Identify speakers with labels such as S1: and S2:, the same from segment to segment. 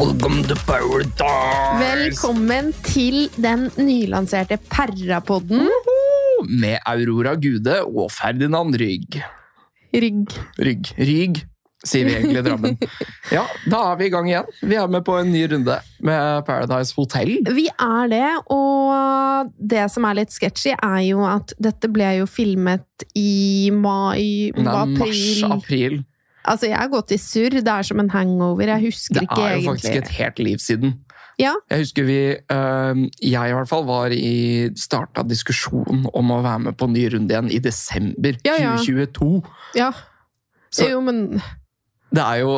S1: Welcome to paradise!
S2: Velkommen til den nylanserte Perrapodden.
S1: Med Aurora Gude og Ferdinand Rygg.
S2: Rygg.
S1: Rygg. Rygg, sier vi egentlig i Drammen. Ja, da er vi i gang igjen. Vi er med på en ny runde med Paradise Hotel.
S2: Vi er det, og det som er litt sketchy, er jo at dette ble jo filmet i mai,
S1: Det er
S2: april
S1: mars-april.
S2: Altså, jeg har gått i surr. Det er som en hangover. Jeg husker
S1: Det
S2: ikke
S1: er jo
S2: egentlig.
S1: faktisk et helt liv siden.
S2: Ja.
S1: Jeg husker vi, øhm, jeg i hvert fall, var i starta diskusjonen om å være med på en ny runde igjen i desember
S2: Ja, ja.
S1: 2022.
S2: Ja.
S1: Så-
S2: Jo, men
S1: Det er, jo,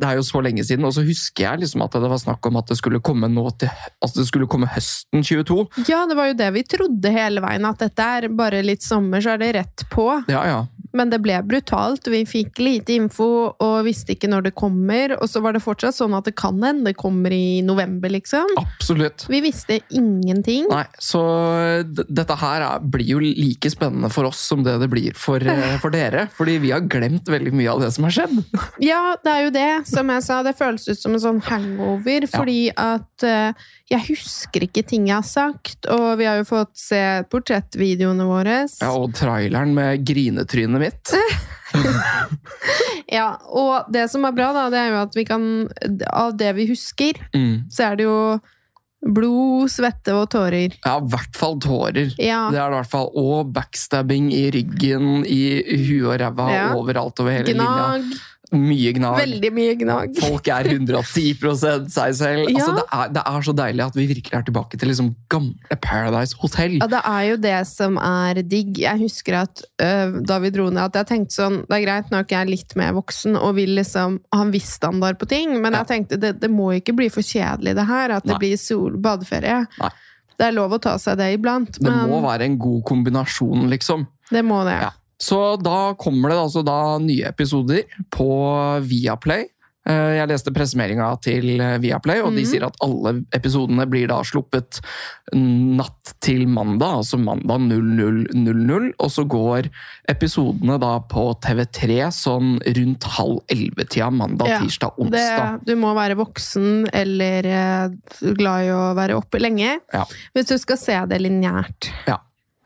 S1: det er jo så lenge siden, og så husker jeg liksom at det var snakk om at det skulle komme, nå til, at det skulle komme høsten 22.
S2: Ja, det var jo det vi trodde hele veien, at dette er bare litt sommer, så er det rett på.
S1: Ja, ja.
S2: Men det ble brutalt. Vi fikk lite info og visste ikke når det kommer. Og så var det fortsatt sånn at det kan hende det kommer i november, liksom.
S1: Absolutt.
S2: Vi visste ingenting.
S1: Nei, så d- dette her er, blir jo like spennende for oss som det det blir for, eh, for dere. Fordi vi har glemt veldig mye av det som har skjedd.
S2: Ja, det er jo det. Som jeg sa, det føles ut som en sånn hangover. Fordi at eh, jeg husker ikke ting jeg har sagt. Og vi har jo fått se portrettvideoene våre.
S1: Ja, og traileren med grinetrynet mitt.
S2: Ja, og det som er bra, da, det er jo at vi kan Av det vi husker,
S1: Mm.
S2: så er det jo blod, svette og tårer.
S1: Ja, i hvert fall tårer.
S2: Ja.
S1: Det er det i hvert fall. Og backstabbing i ryggen, i huet og ræva,
S2: Ja.
S1: overalt over hele linja.
S2: Gnag.
S1: Mye gnag.
S2: Veldig mye gnag.
S1: Folk er 110 seg selv. Altså,
S2: Ja.
S1: det, er, det er så deilig at vi virkelig er tilbake til liksom gamle Paradise Hotel.
S2: Ja, det er jo det som er digg. Jeg husker at øh, da vi dro ned, at jeg tenkte sånn Det er greit nok jeg er litt mer voksen og vil liksom ha en viss standard på ting, men
S1: Ja.
S2: jeg tenkte det, det må ikke bli for kjedelig, det her. At det
S1: Nei.
S2: blir sol, badeferie.
S1: Nei.
S2: Det er lov å ta seg det iblant,
S1: Det
S2: men
S1: må være en god kombinasjon, liksom.
S2: det må det.
S1: Ja. Så da kommer det altså da nye episoder på Viaplay. Eh, Jeg leste pressemeldinga til eh, Viaplay, og de
S2: Mhm.
S1: sier at alle episodene blir da sluppet natt til mandag, altså mandag 00.00. Og så går episodene da på TV3 sånn rundt halv elleve-tida mandag,
S2: Ja,
S1: tirsdag,
S2: Det,
S1: onsdag.
S2: du må være voksen eller eh, glad i å være oppe lenge
S1: Ja.
S2: hvis du skal se det lineært.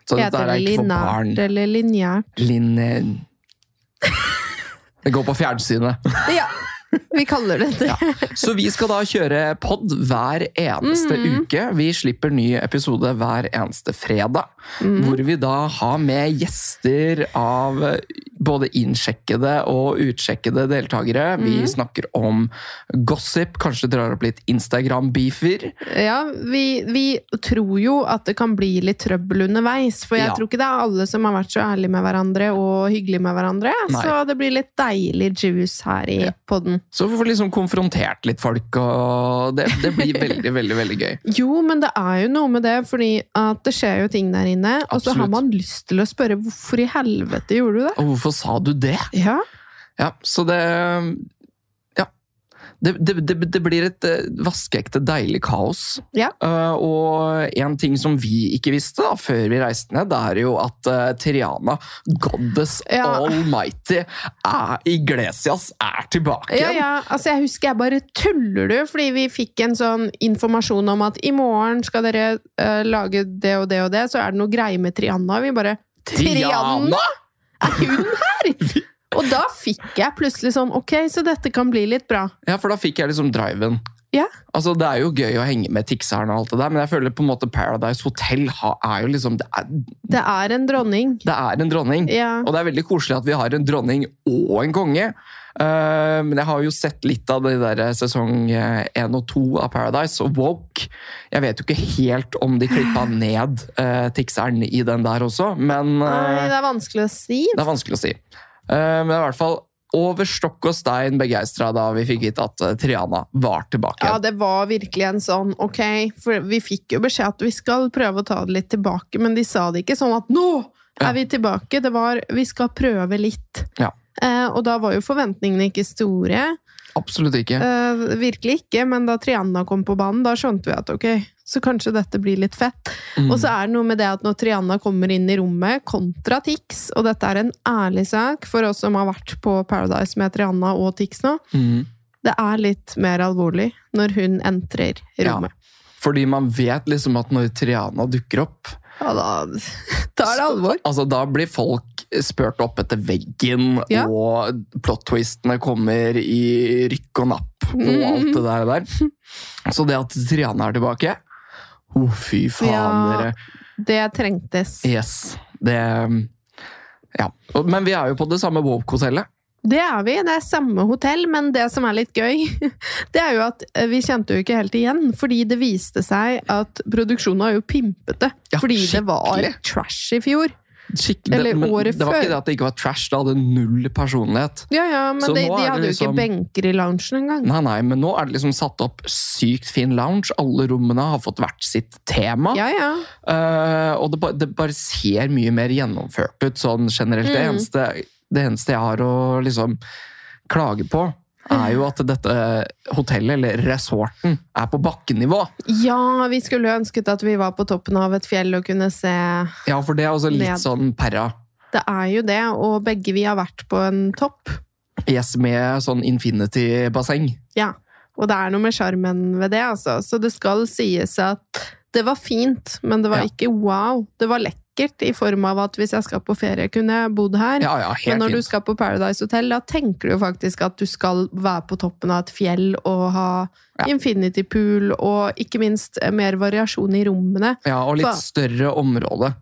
S1: Så dette
S2: Heter
S1: er
S2: det
S1: ikke for barn.
S2: lineært eller lineært?
S1: Lin... Det går på fjernsynet.
S2: Ja, vi kaller det det.
S1: Så vi skal da kjøre pod hver eneste
S2: Mhm.
S1: uke. Vi slipper ny episode hver eneste fredag.
S2: Mhm.
S1: Hvor vi da har med gjester av både innsjekkede og utsjekkede deltakere. Vi
S2: Mhm.
S1: snakker om gossip, kanskje drar opp litt Instagram-beefer.
S2: Ja, vi, vi tror jo at det kan bli litt trøbbel underveis, for jeg
S1: Ja.
S2: tror ikke det er alle som har vært så ærlige med hverandre og hyggelige med hverandre,
S1: Nei.
S2: så det blir litt deilig juice her i podden.
S1: Så vi får liksom konfrontert litt folk, og det, det blir veldig, veldig, veldig gøy.
S2: Jo, men det er jo noe med det, fordi at det skjer jo ting der inne, og så har
S1: Absolutt.
S2: man lyst til å spørre hvorfor i helvete gjorde du det?
S1: Og hvorfor sa du det?
S2: Ja,
S1: Ja, så det Ja. Det, det, det, det blir et eh, vaskeekte deilig kaos.
S2: Ja.
S1: Eh, og en ting som vi ikke visste da, før vi reiste ned, det er jo at eh, Triana, goddess
S2: Ja.
S1: almighty, er, Iglesias er tilbake.
S2: ja,
S1: igjen.
S2: ja. Altså, jeg husker jeg bare tuller du, fordi vi fikk en sånn informasjon om at i morgen skal dere eh, lage det og det og det, så er det noe greie med Trianna, og vi bare Triana? er hun her? Og da fikk jeg plutselig sånn, ok, så dette kan bli litt bra.
S1: Ja, for da fikk jeg liksom driven.
S2: Ja.
S1: Altså, Det er jo gøy å henge med tikseren, og alt det der, men jeg føler på en måte Paradise Hotel ha- er jo liksom Det er,
S2: Det er en dronning.
S1: det er en dronning.
S2: Ja.
S1: Og det er veldig koselig at vi har en dronning og en konge. Eh, men jeg har jo sett litt av det der sesong eh, 1 og 2 av Paradise og Woke. Jeg vet jo ikke helt om de klippa ned eh, tikseren i den der også, men
S2: Nei,
S1: eh,
S2: det er vanskelig å si.
S1: det er vanskelig å si. Eh, men i hvert fall over stokk og stein begeistra da vi fikk vite at eh, Triana var tilbake.
S2: Ja, det var virkelig en sånn, ok, for vi fikk jo beskjed at vi skal prøve å ta det litt tilbake, men de sa det ikke sånn at nå
S1: Ja.
S2: er vi tilbake. Det var, vi skal prøve litt.
S1: Ja.
S2: Eh, og da var jo forventningene ikke store.
S1: Absolutt ikke.
S2: Eh, virkelig ikke, men da Trianna kom på banen, da skjønte vi at ok, så kanskje dette blir litt fett. Og
S1: Mm.
S2: så er det noe med det at når Triana kommer inn i rommet kontra Tix, og dette er en ærlig sak for oss som har vært på Paradise med Triana og Tix nå,
S1: Mm.
S2: Det er litt mer alvorlig når hun entrer rommet.
S1: Fordi man vet liksom at når Triana dukker opp,
S2: Ja, da, da er det alvor.
S1: altså da blir folk spurt opp etter veggen,
S2: Ja.
S1: og plot-twistene kommer i rykk og napp
S2: Mhm.
S1: og alt det der. der. Så det at Triana er tilbake Å, fy faen,
S2: Ja.
S1: dere.
S2: Det trengtes.
S1: Yes. Det Ja. Og- Men vi er jo på det samme Woke-hotellet.
S2: Det er vi. Det er samme hotell, men det som er litt gøy, det er jo at eh, vi kjente jo ikke helt igjen, fordi det viste seg at produksjonen har jo pimpet det.
S1: Ja,
S2: fordi det var
S1: skikkelig.
S2: trash i fjor.
S1: Skikkelig-
S2: Eller
S1: men
S2: året
S1: det var
S2: før.
S1: ikke det at det ikke var trash. Det hadde null personlighet.
S2: Ja, ja, men
S1: Så
S2: de,
S1: nå er
S2: de
S1: det
S2: hadde jo
S1: liksom-
S2: ikke benker i loungen engang.
S1: Nei, nei, men nå er det liksom satt opp sykt fin lounge. Alle rommene har fått hvert sitt tema.
S2: Ja, ja.
S1: Eh, og det, ba, det bare ser mye mer gjennomført ut sånn generelt. Det,
S2: Mm.
S1: eneste, det eneste jeg har å liksom klage på, er jo at dette hotellet, eller resorten, er på bakkenivå.
S2: Ja, vi skulle jo ønsket at vi var på toppen av et fjell og kunne se
S1: Ja, for det er også litt
S2: Ned.
S1: sånn perra.
S2: Det er jo det, og begge vi har vært på en topp.
S1: Yes, med sånn infinity-basseng.
S2: Ja. Og det er noe med sjarmen ved det, altså. Så det skal sies at det var fint, men det var
S1: Ja.
S2: ikke wow. Det var lekkert i form av at hvis jeg skal på ferie, kunne jeg bodd her.
S1: Ja, ja,
S2: men
S1: helt
S2: når du
S1: fint.
S2: skal på Paradise Hotel, da tenker du jo faktisk at du skal være på toppen av et fjell og ha
S1: Ja.
S2: infinity pool, og ikke minst eh, mer variasjon i rommene.
S1: Ja, og
S2: Fa-
S1: litt større område.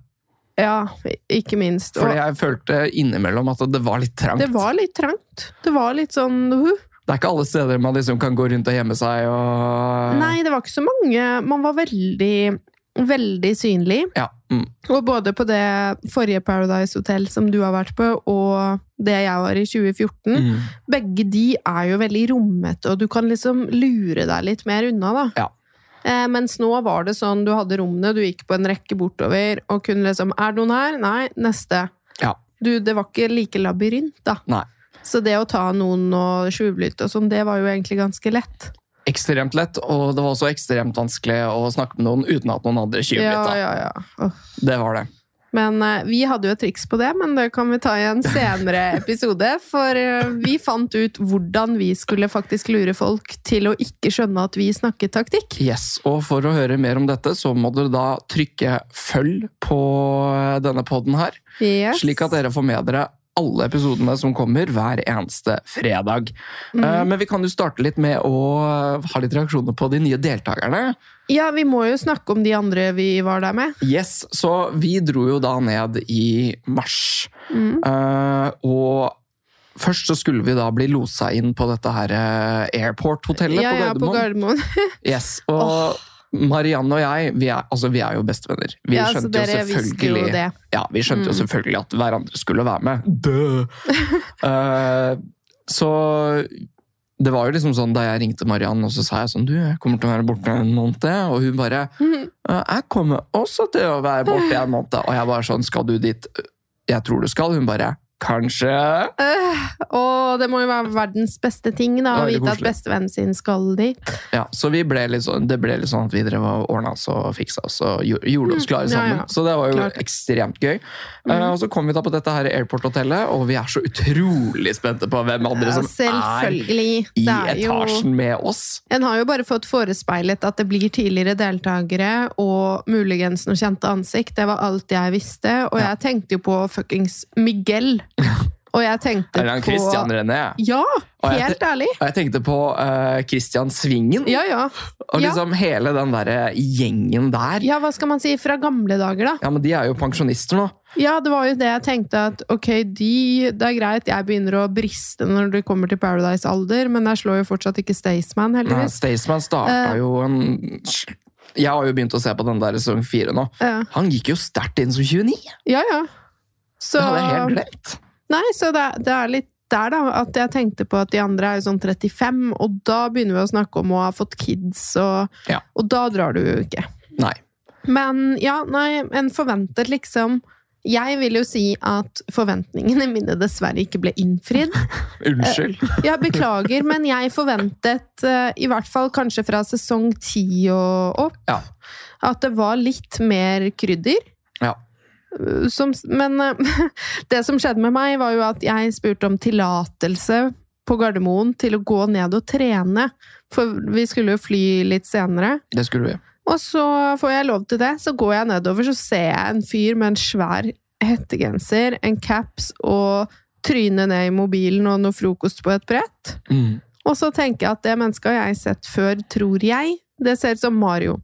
S2: Ja, ikke minst.
S1: Fordi jeg
S2: Og
S1: følte innimellom at det var litt trangt.
S2: det var litt trangt. Det var litt sånn uh,
S1: Det er ikke alle steder man liksom kan gå rundt og gjemme seg og
S2: Nei, det var ikke så mange. Man var veldig, veldig synlig.
S1: Ja. Mm.
S2: Og både på det forrige Paradise Hotel som du har vært på, og det jeg var i 2014,
S1: Mm.
S2: begge de er jo veldig rommete, og du kan liksom lure deg litt mer unna, da.
S1: Ja.
S2: Eh, mens nå var det sånn, du hadde rommene, du gikk på en rekke bortover, og kunne liksom Er det noen her? Nei. Neste.
S1: Ja.
S2: Du, det var ikke like labyrint, da.
S1: Nei.
S2: Så det å ta noen og tjuvlytte og sånn, det var jo egentlig ganske lett.
S1: Ekstremt lett, og det var også ekstremt vanskelig å snakke med noen uten at noen andre tjuver
S2: Ja,
S1: litt.
S2: ja, ja.
S1: Da.
S2: Åh.
S1: Det var det.
S2: Men eh, vi hadde jo et triks på det, men det kan vi ta i en senere episode. For eh, vi fant ut hvordan vi skulle faktisk lure folk til å ikke skjønne at vi snakket taktikk.
S1: Yes, Og for å høre mer om dette, så må dere da trykke følg på eh, denne poden her.
S2: Yes.
S1: Slik at dere får med dere alle episodene som kommer hver eneste fredag.
S2: Mm.
S1: Eh, Men vi kan jo starte litt med å eh, ha litt reaksjoner på de nye deltakerne.
S2: Ja, vi må jo snakke om de andre vi var der med.
S1: Yes, så vi dro jo da ned i mars.
S2: Mm.
S1: Eh, og først så skulle vi da bli losa inn på dette her eh, airport-hotellet
S2: Ja,
S1: på
S2: ja, på
S1: Gardermoen.
S2: Gardermoen.
S1: yes, og Marianne og jeg, vi er, altså, vi er jo bestevenner. Vi
S2: ja, så
S1: skjønte,
S2: dere
S1: jo
S2: visste jo
S1: selvfølgelig,
S2: det.
S1: ja, vi skjønte jo
S2: Mm.
S1: selvfølgelig at hverandre skulle være med. Dø! Eh, så det var jo liksom sånn da jeg ringte Marianne, og så sa jeg sånn Du, jeg kommer til å være borte en måned. Og hun bare
S2: Mm.
S1: «Eh, jeg kommer også til å være borte en måned. Og jeg bare sånn, skal du dit? Jeg tror du skal. Hun bare, kanskje?
S2: Øh, og det må jo være verdens beste ting da,
S1: Det er
S2: å
S1: veldig
S2: vite at
S1: koselig.
S2: bestevennen sin skal dit.
S1: Ja, så vi ble litt sånn, det ble litt sånn at vi drev og ordnet oss og fiksa oss og gjo- gjorde oss
S2: Mm,
S1: klare
S2: ja,
S1: sammen.
S2: ja.
S1: Så det var jo
S2: Klart.
S1: ekstremt gøy. Eh,
S2: Mm.
S1: og så kom vi da på dette her airport-hotellet, og vi er så utrolig spente på hvem andre
S2: Ja,
S1: som er
S2: selvfølgelig.
S1: i
S2: Det er jo-
S1: etasjen med oss.
S2: En har jo bare fått forespeilet at det blir tidligere deltakere og muligens noe kjente ansikt. Det var alt jeg visste, og
S1: Ja.
S2: jeg tenkte jo på fuckings Miguel. Og jeg tenkte
S1: Er det han
S2: på
S1: Christian René?
S2: Ja,
S1: Og jeg
S2: helt ærlig.
S1: Og jeg tenkte på eh, Christian Svingen,
S2: Ja, ja.
S1: og
S2: ja.
S1: liksom hele den der gjengen der.
S2: Ja, hva skal man si? Fra gamle dager, da.
S1: Ja, men de er jo pensjonister nå.
S2: Ja, det var jo det jeg tenkte at ok, de Det er greit, jeg begynner å briste når det kommer til Paradise-alder, men jeg slår jo fortsatt ikke Staysman,
S1: Nei,
S2: heldigvis.
S1: Staysman starta
S2: Eh.
S1: jo en Jeg har jo begynt å se på den der sesong fire nå.
S2: Ja,
S1: Han gikk jo sterkt inn som 29!
S2: ja. ja. Så
S1: Det hadde jeg helt glemt.
S2: Nei, så det, det er litt der, da, at jeg tenkte på at de andre er jo sånn 35, og da begynner vi å snakke om å ha fått kids, og,
S1: Ja.
S2: og da drar du jo ikke.
S1: Nei.
S2: Men ja, nei, en forventet liksom Jeg vil jo si at forventningene mine dessverre ikke ble innfridd.
S1: Unnskyld.
S2: Jeg beklager, men jeg forventet, eh, i hvert fall kanskje fra sesong ti og opp,
S1: Ja.
S2: at det var litt mer krydder.
S1: Ja.
S2: Eh, Som, men eh, det som skjedde med meg, var jo at jeg spurte om tillatelse på Gardermoen til å gå ned og trene. For vi skulle jo fly litt senere.
S1: Det skulle vi.
S2: Og så får jeg lov til det. Så går jeg nedover, så ser jeg en fyr med en svær hettegenser, en caps og trynet ned i mobilen og noe frokost på et brett.
S1: Mm.
S2: Og så tenker jeg at det mennesket har jeg sett før, tror jeg. Det ser ut som Mario.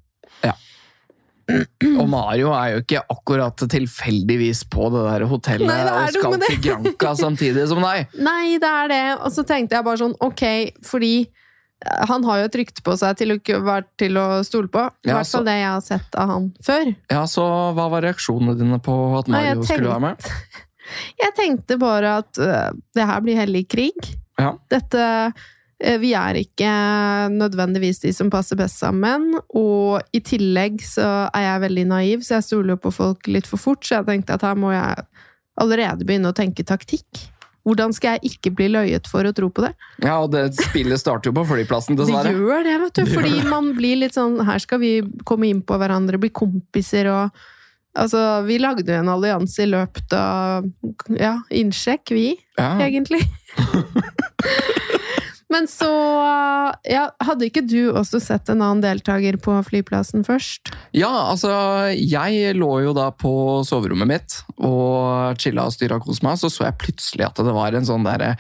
S1: Og Mario er jo ikke akkurat tilfeldigvis på det der hotellet
S2: Nei, det er
S1: og
S2: noe
S1: skal
S2: med
S1: til Granca samtidig som deg.
S2: Nei, det er det. Og så tenkte jeg bare sånn, ok, fordi eh, han har jo et rykte på seg til å, ikke være til å stole på. I
S1: Ja,
S2: hvert
S1: så-
S2: fall det jeg har sett av han før.
S1: Ja, så hva var reaksjonene dine på at
S2: Nei,
S1: Mario
S2: jeg
S1: skulle være med?
S2: Jeg tenkte bare at øh, det her blir hellig krig.
S1: Ja.
S2: Dette øh, Vi er ikke nødvendigvis de som passer best sammen. Og i tillegg så er jeg veldig naiv, så jeg stoler jo på folk litt for fort. Så jeg tenkte at her må jeg allerede begynne å tenke taktikk. Hvordan skal jeg ikke bli løyet for å tro på det?
S1: Ja, og det spillet starter jo på flyplassen,
S2: Det
S1: dessverre.
S2: gjør det, vet
S1: Det
S2: du.
S1: gjør
S2: Fordi man blir litt sånn Her skal vi komme inn på hverandre, bli kompiser og Altså, vi lagde jo en allianse i løpet av Ja, innsjekk, vi,
S1: Ja.
S2: egentlig. Men så ja, Hadde ikke du også sett en annen deltaker på flyplassen først?
S1: ja, altså, jeg lå jo da på soverommet mitt og chilla og styra og kosa meg, så så jeg plutselig at det var en sånn derre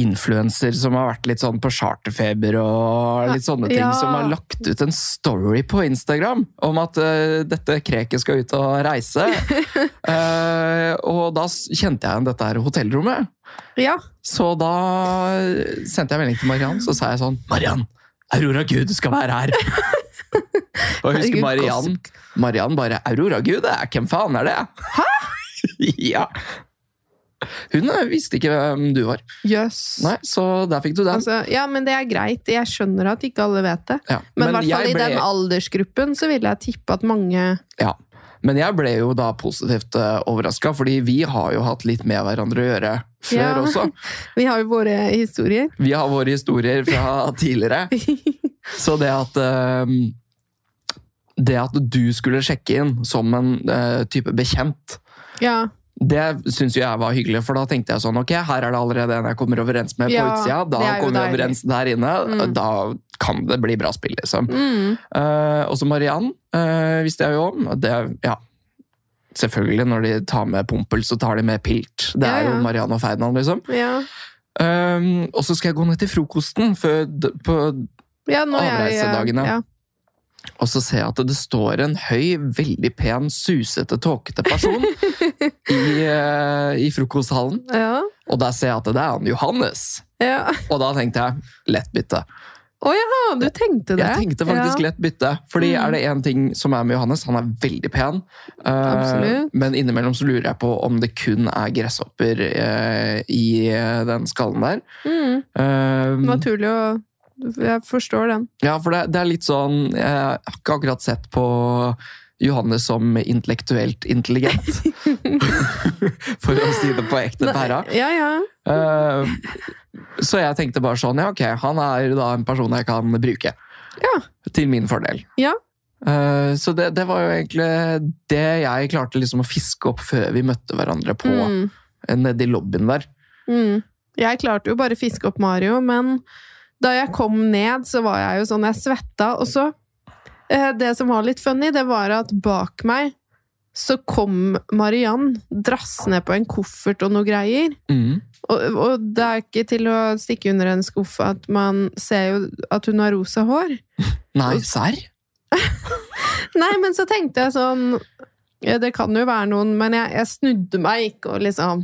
S1: Influenser som har vært litt sånn på charterfeber og litt sånne ting.
S2: Ja.
S1: Som har lagt ut en story på Instagram om at eh, dette kreket skal ut og reise. Eh, og da s- kjente jeg igjen dette her hotellrommet.
S2: Ja.
S1: Så da eh, sendte jeg melding til Mariann, så sa jeg sånn Mariann, Aurora Gud skal være her! Og jeg husker
S2: Herregud,
S1: Mariann Mariann bare Aurora Gud, det er- hvem faen er det? Hæ?! ja. Hun eh, visste ikke hvem du var.
S2: Jøss.
S1: Nei, Så der fikk du den.
S2: Altså, ja, men det er greit. Jeg skjønner at ikke alle vet det.
S1: Ja.
S2: Men, i hvert
S1: jeg
S2: fall i
S1: ble-
S2: den aldersgruppen så ville jeg tippe at mange
S1: Ja. Men jeg ble jo da positivt overraska, fordi vi har jo hatt litt med hverandre å gjøre før
S2: Ja.
S1: også.
S2: Vi har jo våre historier.
S1: Vi har våre historier fra tidligere. Så det at ehm, Det at du skulle sjekke inn som en eh, type bekjent,
S2: ja.
S1: det syns jo jeg var hyggelig, for da tenkte jeg sånn Ok, her er det allerede en jeg kommer overens med på
S2: Ja,
S1: utsida. Da
S2: det er jo
S1: kommer
S2: deilig.
S1: vi overens der inne.
S2: Mm.
S1: Da kan det bli bra spill, liksom.
S2: Mm.
S1: Eh, også Mariann eh, visste jeg jo om. og Det, ja. Selvfølgelig, når de tar med Pompel, så tar de med Pilt. Det
S2: Ja,
S1: er jo
S2: ja.
S1: Mariann og Ferdinand, liksom.
S2: Ja,
S1: Eh, og så skal jeg gå ned til frokosten før, d- på
S2: ja nå er jeg
S1: Avreisedagene.
S2: Ja.
S1: Og så ser jeg at det står en høy, veldig pen, susete, tåkete person i, eh, i frokosthallen.
S2: Ja.
S1: Og der ser jeg at det er han Johannes.
S2: Ja.
S1: Og da tenkte jeg lett bytte.
S2: ja, du tenkte det.
S1: Jeg tenkte faktisk
S2: ja.
S1: lett bytte. Fordi
S2: Mm.
S1: er det én ting som er med Johannes, han er veldig pen. Eh,
S2: Absolutt.
S1: men innimellom så lurer jeg på om det kun er gresshopper eh, i eh, den skallen der.
S2: Mm,
S1: Eh,
S2: naturlig å Jeg forstår den.
S1: Ja, for det, det er litt sånn Jeg har ikke akkurat sett på Johannes som intellektuelt intelligent. For å si det på ekte pæra.
S2: Ja, ja.
S1: Eh, så jeg tenkte bare sånn Ja, ok, han er da en person jeg kan bruke.
S2: Ja.
S1: Til min fordel.
S2: Ja.
S1: Eh, så det, det var jo egentlig det jeg klarte liksom å fiske opp før vi møtte hverandre på
S2: Mm,
S1: nede i lobbyen der.
S2: mm. Jeg klarte jo bare å fiske opp Mario, men da jeg kom ned, så var jeg jo sånn Jeg svetta, og så eh, Det som var litt funny, det var at bak meg så kom Mariann drassende på en koffert og noe greier. Og, og det er ikke til å stikke under en skuff at man ser jo at hun har rosa hår.
S1: Nei, serr?
S2: Nei, men så tenkte jeg sånn ja, Det kan jo være noen, men jeg, jeg snudde meg ikke og liksom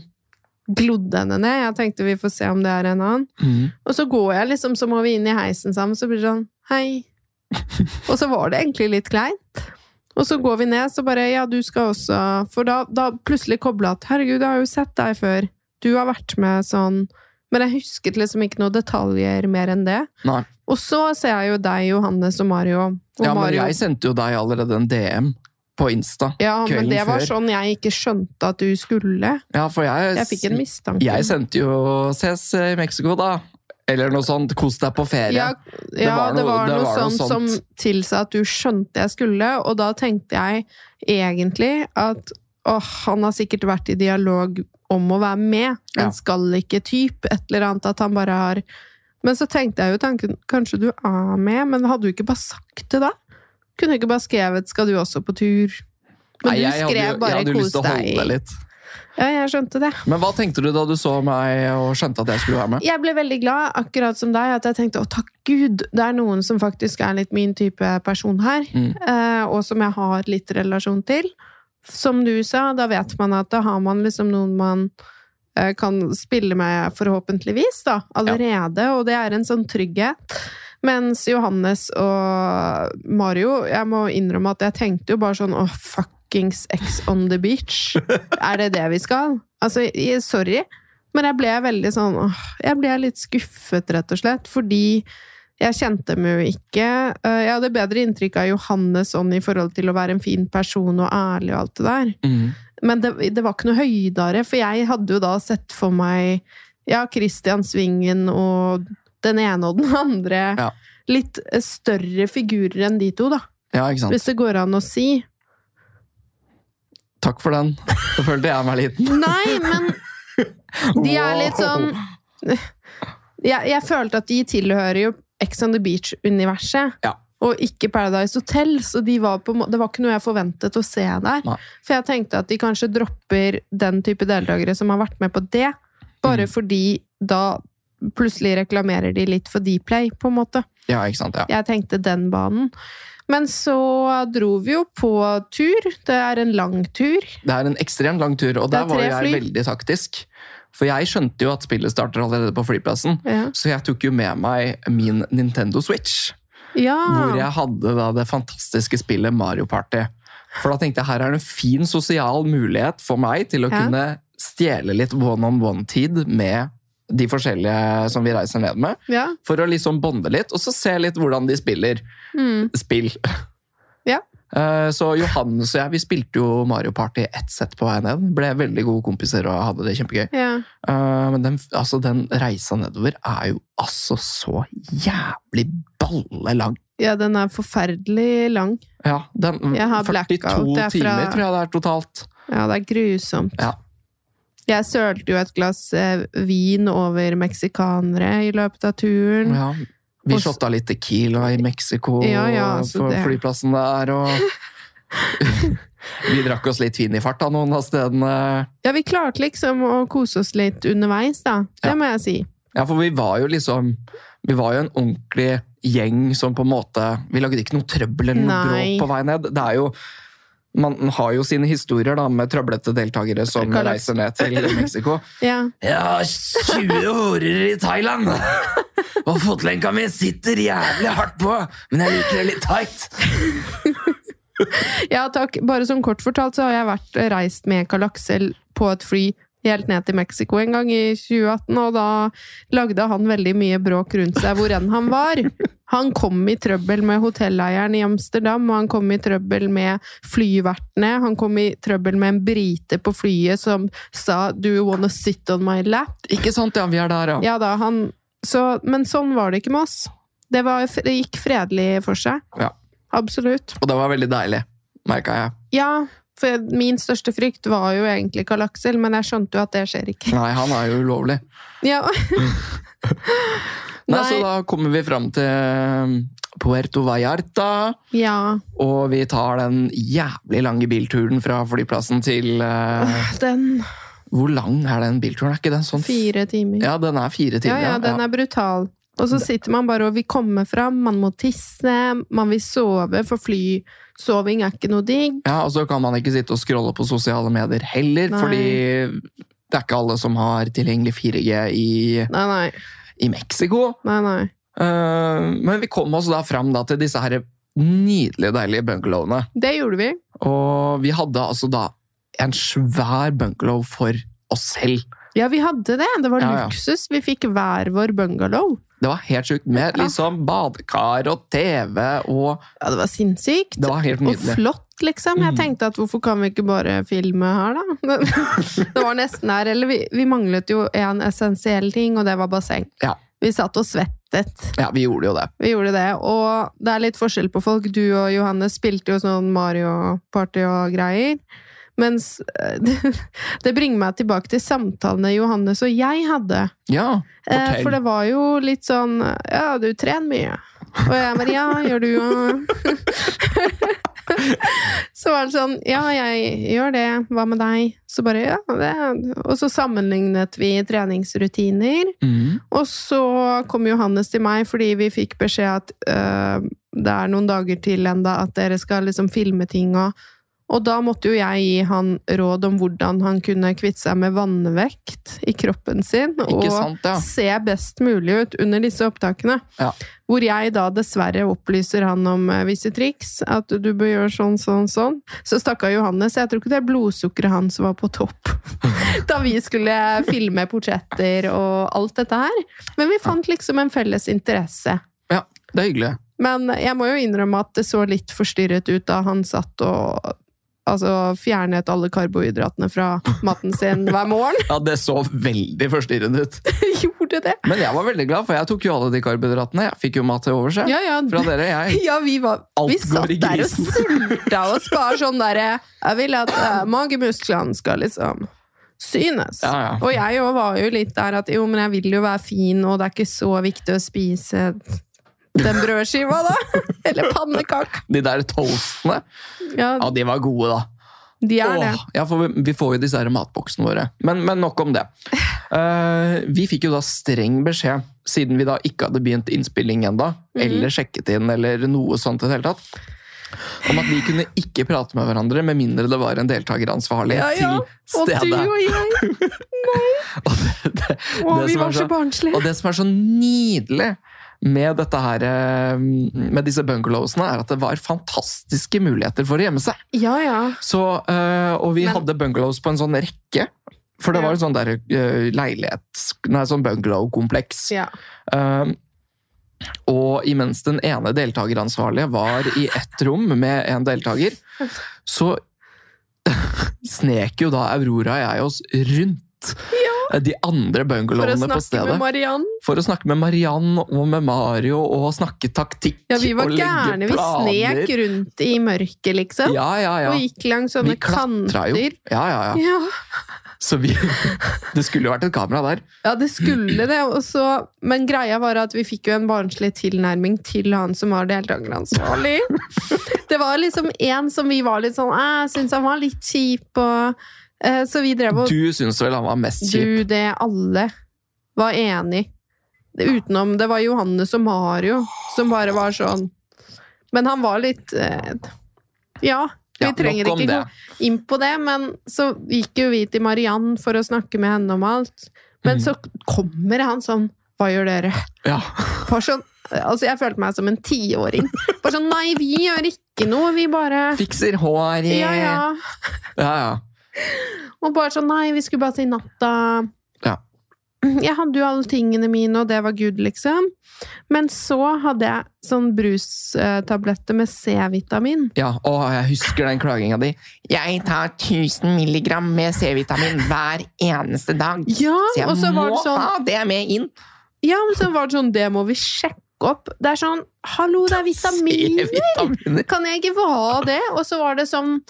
S2: glodde henne ned. Jeg tenkte vi får se om det er en annen.
S1: Mm.
S2: Og så går jeg liksom, så må vi inn i heisen sammen, så blir det sånn Hei. Og så var det egentlig litt kleint. Og så går vi ned, så bare Ja, du skal også For da, da plutselig kobla at Herregud, jeg har jo sett deg før. Du har vært med sånn Men jeg husket liksom ikke noen detaljer mer enn det.
S1: Nei.
S2: Og så ser jeg jo deg, Johannes og Mario. Og
S1: Ja, men
S2: Mario.
S1: jeg sendte jo deg allerede en DM på Insta.
S2: ja, men
S1: kvelden
S2: det var
S1: før.
S2: sånn jeg ikke skjønte at du skulle.
S1: Ja, for jeg,
S2: Jeg fikk en mistanke.
S1: Jeg sendte jo 'ses eh, i Mexico', da. Eller noe sånt. 'Kos deg på ferie'.
S2: Ja, ja,
S1: var
S2: det
S1: noe-
S2: var
S1: det var
S2: noe,
S1: noe
S2: sånt,
S1: sånt.
S2: som tilsa at du skjønte jeg skulle, og da tenkte jeg egentlig at Og han har sikkert vært i dialog om å være med, men
S1: Ja.
S2: skal ikke type et eller annet. At han bare har Men så tenkte jeg jo tanken Kanskje du er med, men hadde du ikke bare sagt det da? Kunne du ikke bare skrevet 'Skal du også på tur'? Men
S1: Nei,
S2: du
S1: jeg hadde
S2: skrev
S1: jo-
S2: bare
S1: Jeg hadde jo
S2: 'Kos
S1: lyst til å holde det
S2: deg'.
S1: litt.
S2: Ja, jeg skjønte det.
S1: Men hva tenkte du da du så meg og skjønte at jeg skulle være med?
S2: Jeg ble veldig glad, akkurat som deg, at jeg tenkte å takk Gud, det er noen som faktisk er litt min type person her,
S1: Mm.
S2: eh, og som jeg har litt relasjon til. Som du sa, da vet man at da har man liksom noen man eh, kan spille med, forhåpentligvis, da, allerede, og det er en sånn trygghet. Mens Johannes og Mario, jeg må innrømme at jeg tenkte jo bare sånn åh, fuckings X on the beach. Er det det vi skal? Altså, jeg- sorry. Men jeg ble veldig sånn åh, Jeg ble litt skuffet, rett og slett, fordi jeg kjente dem jo ikke. Eh, Jeg hadde bedre inntrykk av Johannes sånn i forhold til å være en fin person og ærlig og alt det der.
S1: Mm.
S2: Men det, det var ikke noe høydere, for jeg hadde jo da sett for meg ja, Christian Svingen og den ene og den andre.
S1: Ja.
S2: Litt eh, større figurer enn de to, da.
S1: Ja, ikke sant.
S2: Hvis det går an å si.
S1: Takk for den. Da følte jeg meg liten.
S2: Nei, men de er litt sånn
S1: Wow.
S2: jeg, jeg følte at de tilhører jo Ex on the Beach-universet.
S1: Ja.
S2: Og ikke Paradise Hotel, så de var på, en må- det var ikke noe jeg forventet å se der.
S1: Nei.
S2: For jeg tenkte at de kanskje dropper den type deltakere som har vært med på det, bare
S1: Mm.
S2: fordi da plutselig reklamerer de litt for Dplay, på en måte.
S1: Ja, ikke sant. Ja.
S2: Jeg tenkte den banen. Men så dro vi jo på tur. Det er en lang tur.
S1: Det er en ekstremt lang tur, og
S2: Det er
S1: der var
S2: tre
S1: jeg
S2: fly.
S1: veldig taktisk. For jeg skjønte jo at spillet starter allerede på flyplassen,
S2: Ja.
S1: så jeg tok jo med meg min Nintendo Switch. Hvor
S2: Ah.
S1: jeg hadde da det fantastiske spillet Mario Party. For da tenkte jeg her er det en fin sosial mulighet for meg til å
S2: Ja.
S1: kunne stjele litt one-on-one-tid med de forskjellige som vi reiser ned med.
S2: ja.
S1: For å liksom bonde litt, og så se litt hvordan de spiller
S2: Mm.
S1: spill.
S2: Ja.
S1: Eh, Så Johannes og jeg vi spilte jo Mario Party ett sett på vei ned. Ble veldig gode kompiser og hadde det kjempegøy.
S2: ja.
S1: Eh, Men den, altså, den reisa nedover er jo altså så jævlig ballelang.
S2: Ja, den er forferdelig lang.
S1: Ja, den,
S2: Jeg har
S1: 42
S2: blackout, det er fra-
S1: timer tror jeg det er totalt.
S2: Ja, det er grusomt.
S1: Ja.
S2: Jeg sølte jo et glass eh, vin over meksikanere i løpet av turen.
S1: Ja. Vi
S2: Mm. Og s-
S1: shotta litt Tequila i Mexico
S2: Ja, ja, så
S1: på
S2: det-
S1: flyplassen der, og Vi drakk oss litt fin i farta noen av stedene.
S2: Ja, vi klarte liksom å kose oss litt underveis, da. Det
S1: Ja.
S2: må jeg si.
S1: Ja, for vi var jo liksom Vi var jo en ordentlig gjeng som på en måte Vi lagde ikke noe trøbbel eller noe
S2: Nei.
S1: bråk på vei ned. Det er jo Man har jo sine historier da med trøblete deltakere som
S2: Karl-
S1: reiser ned til Mexico.
S2: Ja.
S1: Jeg har 20 horer i Thailand! Og fotlenka mi sitter jævlig hardt på, men jeg liker det litt tight.
S2: ja, takk. Bare som kort fortalt så har jeg vært reist med Karl Aksel på et fly helt ned til Mexico en gang i 2018, og da lagde han veldig mye bråk rundt seg hvor enn han var. Han kom i trøbbel med hotelleieren i Amsterdam, og han kom i trøbbel med flyvertene, han kom i trøbbel med en brite på flyet som sa «Do you wanna sit on my lap?»
S1: Ikke sant, ja. Vi er der, ja.
S2: Ja da, han så, Men sånn var det ikke med oss. Det, var, det gikk fredelig for seg.
S1: Ja.
S2: Absolutt.
S1: Og det var veldig deilig, merka jeg.
S2: Ja, for min største frykt var jo egentlig Karl Aksel, men jeg skjønte jo at det skjer ikke.
S1: Nei, han er jo ulovlig.
S2: Ja.
S1: Nei,
S2: Nei.
S1: Så da kommer vi fram til eh, Puerto Vallarta,
S2: ja.
S1: og vi tar den jævlig lange bilturen fra flyplassen til eh,
S2: Den
S1: Hvor lang er den bilturen? Er ikke den sånn f-
S2: fire timer.
S1: Ja, den er fire
S2: Ja,
S1: timer.
S2: ja, den er brutal. Og så sitter man bare og vil komme fram, man må tisse, man vil sove, for flysoving er ikke noe digg.
S1: Ja, og så kan man ikke sitte og scrolle på sosiale medier heller,
S2: Nei.
S1: fordi det er ikke alle som har tilgjengelig 4G i,
S2: Nei, nei,
S1: i Mexico.
S2: nei, nei.
S1: Eh, men vi kom oss da fram da til disse her nydelige, deilige bungalowene.
S2: Det gjorde vi.
S1: Og vi hadde altså da en svær bungalow for oss selv.
S2: Ja, vi hadde det. Det var
S1: Ja, ja.
S2: luksus. Vi fikk hver vår bungalow.
S1: Det var helt sjukt, med
S2: Ja.
S1: liksom badekar og TV og
S2: Ja, det var sinnssykt.
S1: Det var helt
S2: og
S1: nydelig.
S2: flott, liksom. Jeg
S1: Mm.
S2: tenkte at hvorfor kan vi ikke bare filme her, da? Det var nesten her. Eller vi, vi manglet jo en essensiell ting, og det var basseng.
S1: Ja.
S2: Vi satt og svettet.
S1: Ja, vi gjorde jo det.
S2: Vi gjorde det. Og det er litt forskjell på folk. Du og Johannes spilte jo sånn Mario-party og greier. Mens eh, det, det bringer meg tilbake til samtalene Johannes og jeg hadde.
S1: Ja,
S2: Eh,
S1: Fortell.
S2: for det var jo litt sånn Ja, du trener mye. Og jeg bare Ja, gjør du jo Så var det sånn Ja, jeg gjør det. Hva med deg? Så bare Ja, det Og så sammenlignet vi treningsrutiner.
S1: Mhm.
S2: Og så kom Johannes til meg fordi vi fikk beskjed at øh, det er noen dager til enda at dere skal liksom filme ting og Og da måtte jo jeg gi han råd om hvordan han kunne kvitte seg med vannvekt i kroppen sin.
S1: ikke
S2: og
S1: sant, ja.
S2: se best mulig ut under disse opptakene.
S1: Ja.
S2: Hvor jeg da dessverre opplyser han om eh, visse triks. At du bør gjøre sånn, sånn, sånn. Så stakkar Johannes, jeg tror ikke det blodsukkeret hans var på topp da vi skulle filme portretter og alt dette her. Men vi fant liksom en felles interesse.
S1: ja. Det er hyggelig.
S2: Men jeg må jo innrømme at det så litt forstyrret ut da han satt og altså, fjernet alle karbohydratene fra maten sin hver morgen.
S1: Ja, Det så veldig forstyrrende ut.
S2: Gjorde det!
S1: Men jeg var veldig glad, for jeg tok jo alle de karbohydratene. Jeg fikk jo mat til overs. jeg.
S2: Ja, ja,
S1: Fra dere, jeg.
S2: Ja, vi, var,
S1: Alt
S2: vi
S1: går
S2: satt
S1: i
S2: der og
S1: grisen.
S2: sulta oss bare sånn derre Jeg vil at eh, magemusklene skal liksom synes.
S1: Ja, ja.
S2: Og jeg òg var jo litt der at jo, men jeg vil jo være fin, og det er ikke så viktig å spise den brødskiva, da. Eller pannekaka.
S1: De der toastene,
S2: Ja,
S1: ja, de var gode, da.
S2: de er det.
S1: Åh, ja, for vi, vi får jo disse her matboksene våre. Men, men nok om det. Eh, vi fikk jo da streng beskjed, siden vi da ikke hadde begynt innspilling enda,
S2: Mhm.
S1: eller sjekket inn, eller noe sånt i det hele tatt, om at vi kunne ikke prate med hverandre, med mindre det var en deltakeransvarlig
S2: Ja, ja.
S1: til
S2: Og du
S1: stede.
S2: og jeg.
S1: Og det, det,
S2: Å,
S1: det
S2: vi
S1: som er
S2: var så barnslige.
S1: og det som er så nydelig med, dette her, eh, med disse bungalowsene, er at det var fantastiske muligheter for å gjemme seg.
S2: Ja, ja.
S1: Så, eh, og vi
S2: Men-
S1: hadde bungalows på en sånn rekke. For det
S2: Ja.
S1: var en sånn der eh, leilighets... Nei, sånn bungalow-kompleks.
S2: ja.
S1: Eh, og imens den ene deltakeransvarlige var i ett rom med en deltaker, så snek jo da Aurora og jeg oss rundt eh, de andre
S2: For å
S1: bungalowene på
S2: snakke
S1: stedet
S2: med Mariann.
S1: for å snakke med Mariann og med Mario og snakke taktikk
S2: Ja, vi var
S1: og legge
S2: gærne. Vi
S1: planer.
S2: snek rundt i mørket, liksom.
S1: Ja, ja, ja.
S2: Og gikk langs sånne
S1: Vi klatra jo.
S2: kanter.
S1: Ja, ja, ja.
S2: Ja.
S1: Så vi Det skulle jo vært et kamera der.
S2: ja, det skulle det. Og så- men greia var at vi fikk jo en barnslig tilnærming til han som var deltakeransvarlig. Det var liksom en som vi var litt sånn «Æ, Jeg syns han var litt kjip, og eh, Så vi drev og
S1: Du syns vel han var mest kjip?
S2: Du, det alle var enig Det- Utenom Det var Johannes og Mario som bare var sånn Men han var litt eh, Ja. Vi
S1: Ja,
S2: trenger
S1: nok om
S2: ikke gå
S1: det.
S2: inn på det, men så gikk jo vi til Mariann for å snakke med henne om alt. Men
S1: Mhm.
S2: så kommer han sånn Hva gjør dere?
S1: Ja.
S2: Bare sånn Altså, jeg følte meg som en tiåring. Bare sånn Nei, vi gjør ikke noe, vi bare
S1: Fikser håret
S2: Ja, ja.
S1: ja, ja.
S2: Og bare sånn Nei, vi skulle bare til natta.
S1: Ja.
S2: Jeg hadde jo alle tingene mine, og det var good, liksom. Men så hadde jeg sånn brustabletter med C-vitamin.
S1: Ja, Å, jeg husker den klaginga di. Jeg tar 1000 milligram med C-vitamin hver eneste dag.
S2: Ja,
S1: Så jeg
S2: og så var
S1: må
S2: det sånn
S1: ha det med inn.
S2: Ja, men så var det sånn, det må vi sjekke opp. Det er sånn, hallo, det er vitaminer!
S1: C-vitaminer.
S2: Kan jeg ikke få ha det? Og så var det sånn,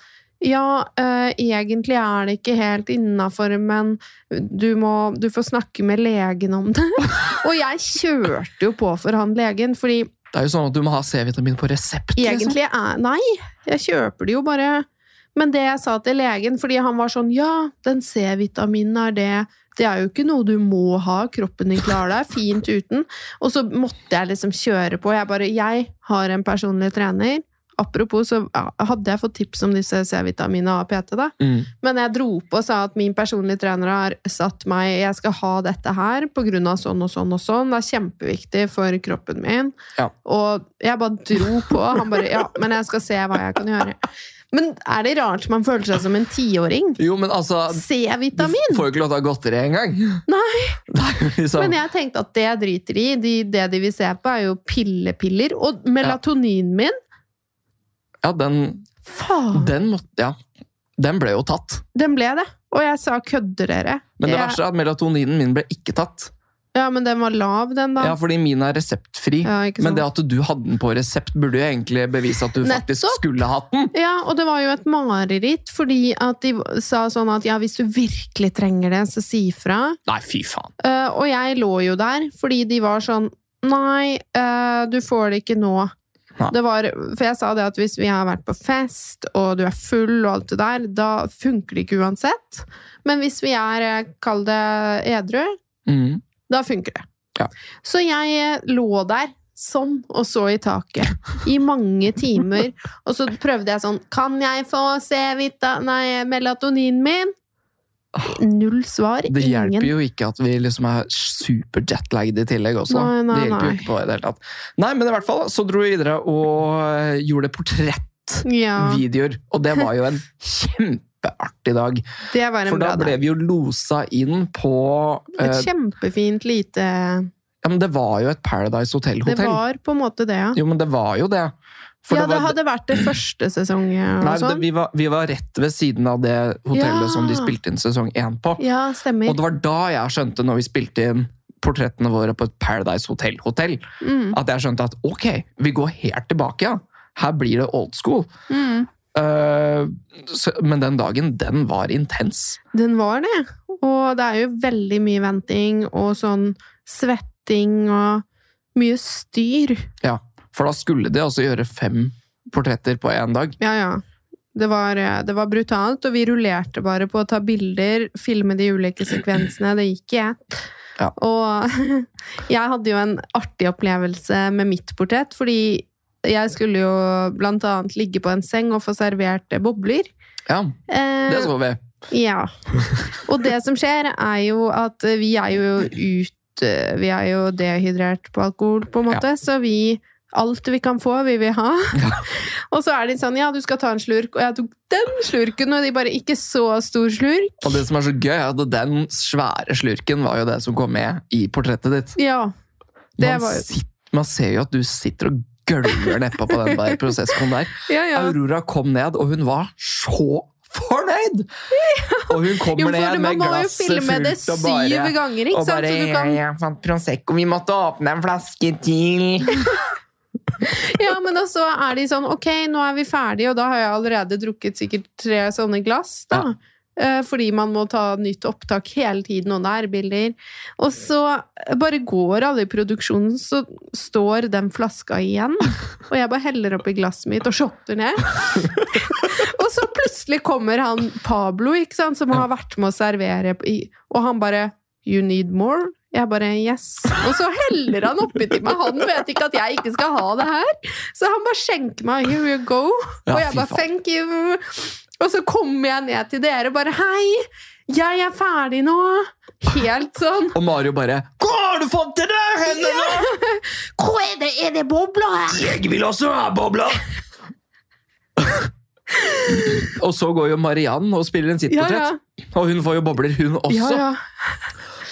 S2: ja, eh, egentlig er det ikke helt innafor, men du, må, du får snakke med legen om det. Og jeg kjørte jo på for han legen, fordi
S1: Det er jo sånn at du må ha C-vitamin på resept. liksom.
S2: egentlig er Nei, jeg kjøper det jo bare. Men det jeg sa til legen, fordi han var sånn Ja, den C-vitaminen er det. Det er jo ikke noe du må ha. Kroppen din klarer deg fint uten. Og så måtte jeg liksom kjøre på. Jeg bare Jeg har en personlig trener. Apropos, så ja, hadde jeg fått tips om disse C-vitaminene av PT, da.
S1: Mm.
S2: Men jeg dro på og sa at min personlige trener har satt meg Jeg skal ha dette her på grunn av sånn og sånn og sånn. Det er kjempeviktig for kroppen min.
S1: Ja.
S2: Og jeg bare dro på. Han bare Ja, men jeg skal se hva jeg kan gjøre. Men er det rart man føler seg som en tiåring?
S1: Jo, men altså Du
S2: C-vitamin!
S1: får jo ikke lov til å ha godteri engang.
S2: Nei.
S1: Det er jo liksom
S2: Men jeg tenkte at det jeg driter i, de, det de vil se på, er jo pillepiller. Og melatoninen min
S1: Ja, den,
S2: Faen!
S1: den måtte Ja. Den ble jo tatt.
S2: Den ble det. Og jeg sa 'kødder dere'?
S1: Men det
S2: Jeg-
S1: verste er at melatoninen min ble ikke tatt.
S2: Ja, men den var lav, den, da.
S1: Ja, fordi min er reseptfri.
S2: Ja, ikke
S1: Men
S2: sant?
S1: det at du hadde den på resept, burde jo egentlig bevise at du faktisk
S2: Nettopp.
S1: skulle hatt den.
S2: Ja, og det var jo et mareritt, fordi at de sa sånn at ja, hvis du virkelig trenger det, så si ifra.
S1: Nei, fy faen.
S2: Eh, og jeg lå jo der, fordi de var sånn Nei, eh, du får det ikke nå.
S1: Ja.
S2: Det var, for jeg sa det at hvis vi har vært på fest, og du er full og alt det der, da funker det ikke uansett. Men hvis vi er, eh, kall det edru,
S1: Mm.
S2: da funker det.
S1: Ja.
S2: Så jeg eh, lå der sånn og så i taket i mange timer. Og så prøvde jeg sånn Kan jeg få C-vita... Nei, melatonin min? Null svar.
S1: Det hjelper
S2: Ingen.
S1: jo ikke at vi liksom er super jetlagged i tillegg også.
S2: Nei, nei,
S1: det hjelper
S2: nei.
S1: jo ikke på i det hele tatt. Nei, men i hvert fall så dro vi videre og øh, gjorde
S2: Ja,
S1: portrettvideoer. Og det var jo en kjempeartig dag.
S2: det var en
S1: For da
S2: bra
S1: ble
S2: dag.
S1: vi jo losa inn på øh,
S2: Et kjempefint lite
S1: Ja, men det var jo et Paradise
S2: Det
S1: Hotel-hotell.
S2: var på en måte det, ja.
S1: Jo, men det var jo det. For
S2: Ja, det
S1: var-
S2: hadde vært det første sesongen og
S1: Nei, det,
S2: sånn.
S1: vi, var, vi var rett ved siden av det hotellet
S2: Ja.
S1: som de spilte inn sesong én på.
S2: Ja,
S1: Og
S2: stemmer.
S1: det var da jeg skjønte, når vi spilte inn portrettene våre på et Paradise Hotel-hotell,
S2: Mm,
S1: at jeg skjønte at ok, vi går helt tilbake, ja. Her blir det old school.
S2: mm.
S1: Eh, så, men den dagen, den var intens.
S2: Den var det. Og det er jo veldig mye venting og sånn svetting og mye styr.
S1: Ja, For da skulle de altså gjøre fem portretter på én dag.
S2: Ja, ja. Det var, eh, det var brutalt, og vi rullerte bare på å ta bilder, filme de ulike sekvensene. Det gikk i ett.
S1: Ja.
S2: Og jeg hadde jo en artig opplevelse med mitt portrett, fordi jeg skulle jo blant annet ligge på en seng og få servert eh, bobler.
S1: Ja,
S2: Eh,
S1: det så vi.
S2: Ja. Og det som skjer, er jo at vi er jo ut eh, Vi er jo dehydrert på alkohol, på en måte, så vi Alt vi kan få, vi vil ha.
S1: Ja.
S2: Og så er de sånn Ja, du skal ta en slurk. Og jeg tok den slurken, og de bare Ikke så stor slurk.
S1: Og det som er så gøy, er at den svære slurken var jo det som kom med i portrettet ditt.
S2: Ja. Det
S1: Man,
S2: var jo-
S1: sitt- man ser jo at du sitter og gølver nedpå på den der prosesskoen der.
S2: Ja, ja.
S1: Aurora kom ned, og hun var så fornøyd! Og hun
S2: Jo,
S1: kommer
S2: for
S1: ned
S2: du-
S1: med
S2: man må jo
S1: glasset
S2: filme det
S1: fullt og
S2: syv
S1: bare
S2: ganger, ikke
S1: og
S2: sant?
S1: bare
S2: Så du kan
S1: jeg fant Prosecco, vi måtte åpne en flaske til.
S2: Ja, men og så er de sånn Ok, nå er vi ferdige, og da har jeg allerede drukket sikkert tre sånne glass, da. Eh, Fordi man må ta nytt opptak hele tiden, og nærbilder. Og så bare går alle i produksjonen, så står den flaska igjen. Og jeg bare heller oppi glasset mitt og shotter ned. og så plutselig kommer han Pablo, ikke sant, som har vært med å servere, i- og han bare You need more? Jeg bare yes. Og så heller han oppi til meg. Han vet ikke at jeg ikke skal ha det her. Så han bare skjenker meg here you go.
S1: Ja,
S2: og jeg
S1: fy
S2: bare
S1: faen.
S2: thank you. Og så kommer jeg ned til dere og bare hei, jeg er ferdig nå. Helt sånn.
S1: Og Mario bare Hva har du fått til det? Hendene?
S2: Hva er det? Er det bobler her?
S1: Jeg vil også ha bobler! og så går jo Mariann og spiller en sitt
S2: Ja,
S1: portrett.
S2: ja.
S1: Og hun får jo bobler, hun også.
S2: ja, ja.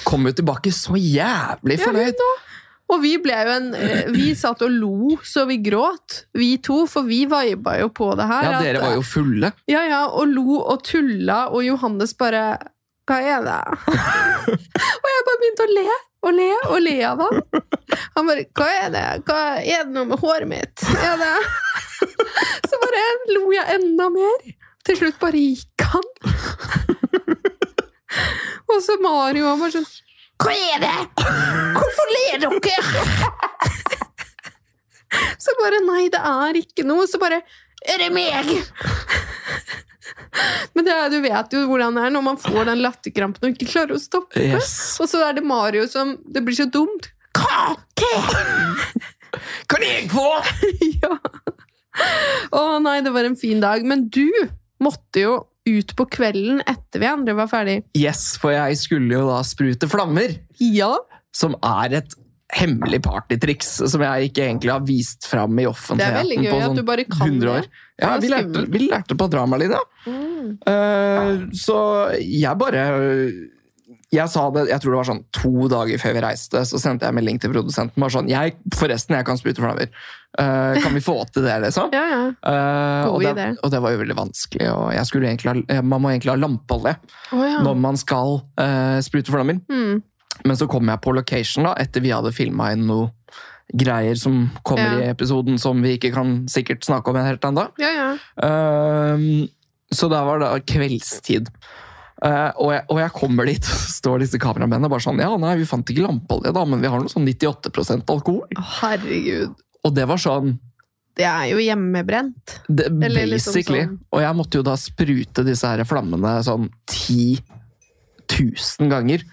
S1: Kom jo tilbake så jævlig
S2: Ja, hun
S1: fornøyd.
S2: også. Og vi ble jo en eh, Vi satt og lo så vi gråt, vi to, for vi viba jo på det her.
S1: Ja,
S2: at-
S1: dere var jo fulle.
S2: Ja, ja, og lo og tulla, og Johannes bare Hva er det? og jeg bare begynte å le og le og le av han. Han bare Hva er det? Hva er det noe med håret mitt? Er det? Så bare lo jeg enda mer. Til slutt bare gikk han. og så Mario han var sånn Hva er det? Hvorfor ler dere? så bare Nei, det er ikke noe. Så bare Er det meg? Men det er, du vet jo hvordan det er når man får den latterkrampen og ikke klarer å stoppe.
S1: Yes.
S2: Og så er det Mario som Det blir så dumt. Kake!
S1: Kan jeg få?
S2: ja. Å nei, det var en fin dag. Men du måtte jo ut på kvelden etter vi andre var ferdig.
S1: Yes, for jeg skulle jo da sprute flammer,
S2: Ja.
S1: som er et hemmelig partytriks som jeg ikke egentlig har vist fram i
S2: Det er
S1: offentligheten
S2: veldig gøy
S1: på
S2: at
S1: sånn
S2: du bare kan
S1: 100
S2: det.
S1: år. Ja,
S2: Det er
S1: vi lærte,
S2: skummelt.
S1: vi lærte på dramalinja.
S2: Mm.
S1: Eh, så jeg bare jeg sa det, jeg tror det var sånn to dager før vi reiste, så sendte jeg melding til produsenten. Bare sånn, jeg, forresten, jeg kan sprute flammer. Eh, kan vi få til det, liksom?
S2: Ja, ja.
S1: Eh, og,
S2: God
S1: det,
S2: idé.
S1: og det var jo veldig vanskelig. Og jeg skulle eh, egentlig ha, man må egentlig ha lampeolje
S2: Å, ja.
S1: når man skal eh, sprute flammer.
S2: Mm.
S1: Men så kom jeg på location da, etter vi hadde filma inn noe greier som kommer
S2: Ja.
S1: i episoden som vi ikke kan sikkert snakke om helt ennå.
S2: Ja, ja.
S1: Ehm, så da var det kveldstid. Eh, og, jeg, og jeg kommer dit, og så står disse kameramennene bare sånn Ja, nei, vi fant ikke lampeolje, da, men vi har noe sånn 98 alkohol.
S2: Å, Herregud.
S1: Og det var sånn
S2: Det er jo hjemmebrent.
S1: det,
S2: Eller liksom
S1: Basically.
S2: sånn-
S1: Og jeg måtte jo da sprute disse her flammene sånn 10 000 ganger.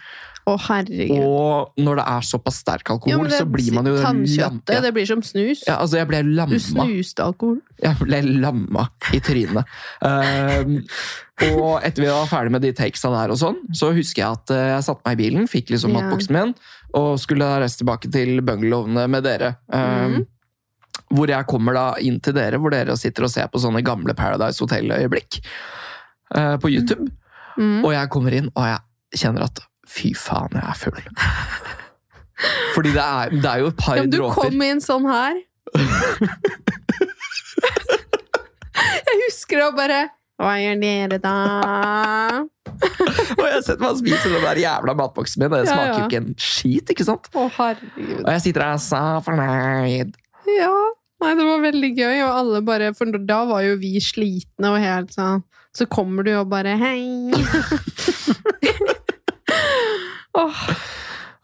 S2: Å, herregud.
S1: Og når det er såpass sterk alkohol,
S2: Jo, men det-
S1: så blir man jo lam-
S2: Tannkjøttet,
S1: ja,
S2: det blir som snus.
S1: ja, altså, jeg ble
S2: Du
S1: lamma.
S2: snuste alkohol.
S1: Jeg ble lamma i trynet. Um, og etter vi var ferdig med de takesa der, og sånn, så husker jeg at eh, jeg satte meg i bilen, fikk liksom
S2: Ja.
S1: matboksen min, og skulle da reise tilbake til bungalowene med dere. Um,
S2: Mhm.
S1: Hvor jeg kommer da inn til dere, hvor dere sitter og ser på sånne gamle Paradise Hotel-øyeblikk eh, på YouTube.
S2: Mm.
S1: Og jeg kommer inn, og jeg kjenner at fy faen, jeg er full. Fordi det er, det er jo et par
S2: Ja, men du
S1: dråper.
S2: kom inn sånn her. jeg husker det og bare Hva gjør dere da?
S1: Og jeg setter meg og spiser den der jævla matboksen min, og det
S2: Ja,
S1: smaker jo
S2: ja.
S1: ikke en skit, ikke sant?
S2: Å, herregud.
S1: Og jeg sitter der så fornøyd.
S2: Ja. Nei, det var veldig gøy, og alle bare For da var jo vi slitne og helt sånn Så kommer du og bare Hei! Åh,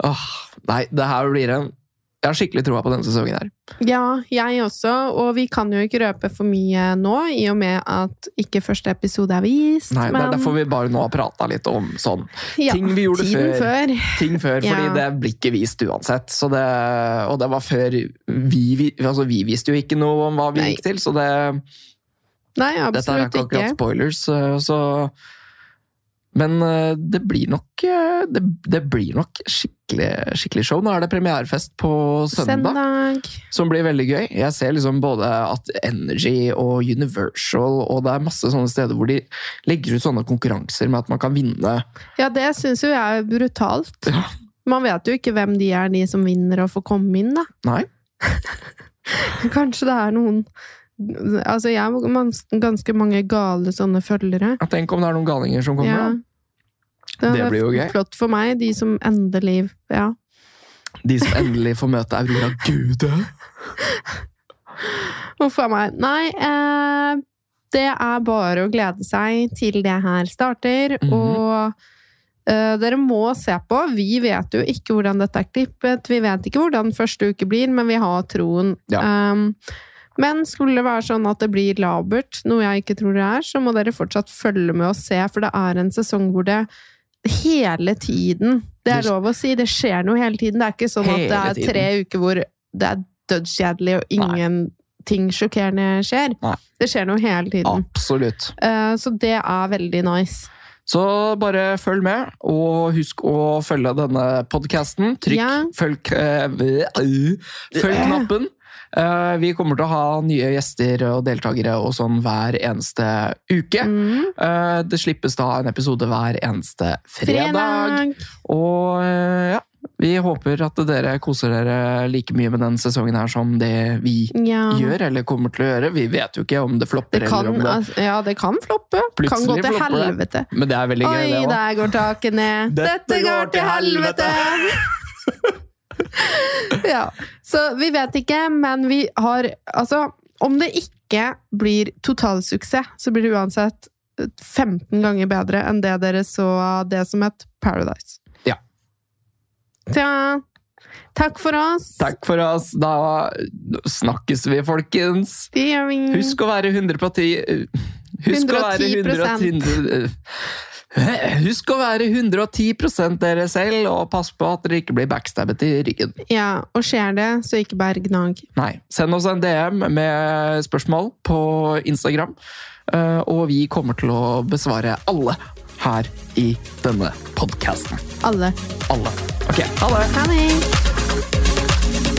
S1: Åh, nei, det her blir en Jeg har skikkelig troa på denne sesongen her.
S2: ja, jeg også, og vi kan jo ikke røpe for mye nå, i og med at ikke første episode er vist.
S1: Nei, Det
S2: men-
S1: er derfor vi bare nå har prata litt om sånn
S2: ja,
S1: ting vi gjorde
S2: tiden
S1: før.
S2: før.
S1: ting før, fordi
S2: Ja.
S1: det blir ikke vist uansett. Så det, og det var før vi, vi Altså, vi visste jo ikke noe om hva vi
S2: Nei.
S1: gikk til, så det
S2: Nei,
S1: Dette er ikke
S2: absolutt ikke.
S1: akkurat spoilers, så- så Men eh, det blir nok eh, Det, det blir nok skikkelig, skikkelig show. Nå er det premierefest på søndag,
S2: Søndag.
S1: som blir veldig gøy. Jeg ser liksom både at Energy og Universal og det er masse sånne steder hvor de legger ut sånne konkurranser med at man kan vinne.
S2: Ja, det syns jo jeg er brutalt.
S1: Ja.
S2: Man vet jo ikke hvem de er, de som vinner og får komme inn, da.
S1: Nei.
S2: Kanskje det er noen Altså, jeg har mans- ganske mange gale sånne følgere.
S1: Ja, Tenk om det er noen galninger som kommer.
S2: Ja.
S1: da. Det
S2: er
S1: blir jo gøy.
S2: Flott for meg, de som endelig Ja.
S1: De som endelig får møte Aurora Gude.
S2: Huff a meg. Nei, eh, det er bare å glede seg til det her starter,
S1: Mhm.
S2: og eh, dere må se på. Vi vet jo ikke hvordan dette er klippet, vi vet ikke hvordan første uke blir, men vi har troen. Um, men skulle det være sånn at det blir labert, noe jeg ikke tror det er, så må dere fortsatt følge med og se, for det er en sesong hvor det hele tiden Det er
S1: Det-
S2: lov å si, det skjer noe hele tiden. Det er ikke sånn at det
S1: Hele
S2: er tre uker hvor det er dødskjedelig og ingenting sjokkerende skjer.
S1: Nei.
S2: Det skjer noe hele tiden.
S1: Absolutt.
S2: Eh, så det er veldig nice.
S1: Så bare følg med, og husk å følge denne podkasten. Trykk
S2: Ja.
S1: følg, eh, v- au. følg
S2: Øh.
S1: knappen. Eh, vi kommer til å ha nye gjester og deltakere og sånn hver eneste uke.
S2: Mm.
S1: Eh, det slippes da en episode hver eneste fredag.
S2: Fredag!
S1: Og eh, ja, vi håper at dere koser dere like mye med den sesongen her som det vi
S2: Ja.
S1: gjør, eller kommer til å gjøre. Vi vet jo ikke om det flopper
S2: Det kan,
S1: eller om det
S2: altså, ja, det kan floppe.
S1: Plutselig
S2: kan gå til
S1: flopper det.
S2: helvete.
S1: Men det er veldig gøy,
S2: Oi,
S1: det òg.
S2: der går taket ned.
S1: Dette
S2: Dette går til helvete! ja. Så vi vet ikke, men vi har Altså, om det ikke blir totalsuksess, så blir det uansett 15 ganger bedre enn det dere så av det som het Paradise.
S1: Ja.
S2: Tja. Takk for oss.
S1: Takk for oss. Da snakkes vi, folkens.
S2: Det gjør vi.
S1: Husk å være 110 eh, Husk å være
S2: 110%.
S1: 110 Husk å være 110 dere selv, og pass på at dere ikke blir backstabbet i ryggen.
S2: Ja, og skjer det, så ikke bare gnag.
S1: Nei. Send oss en DM med spørsmål på Instagram, eh, og vi kommer til å besvare alle her i denne podkasten.
S2: Alle.
S1: Alle. Ok, ha det!
S2: Ha det!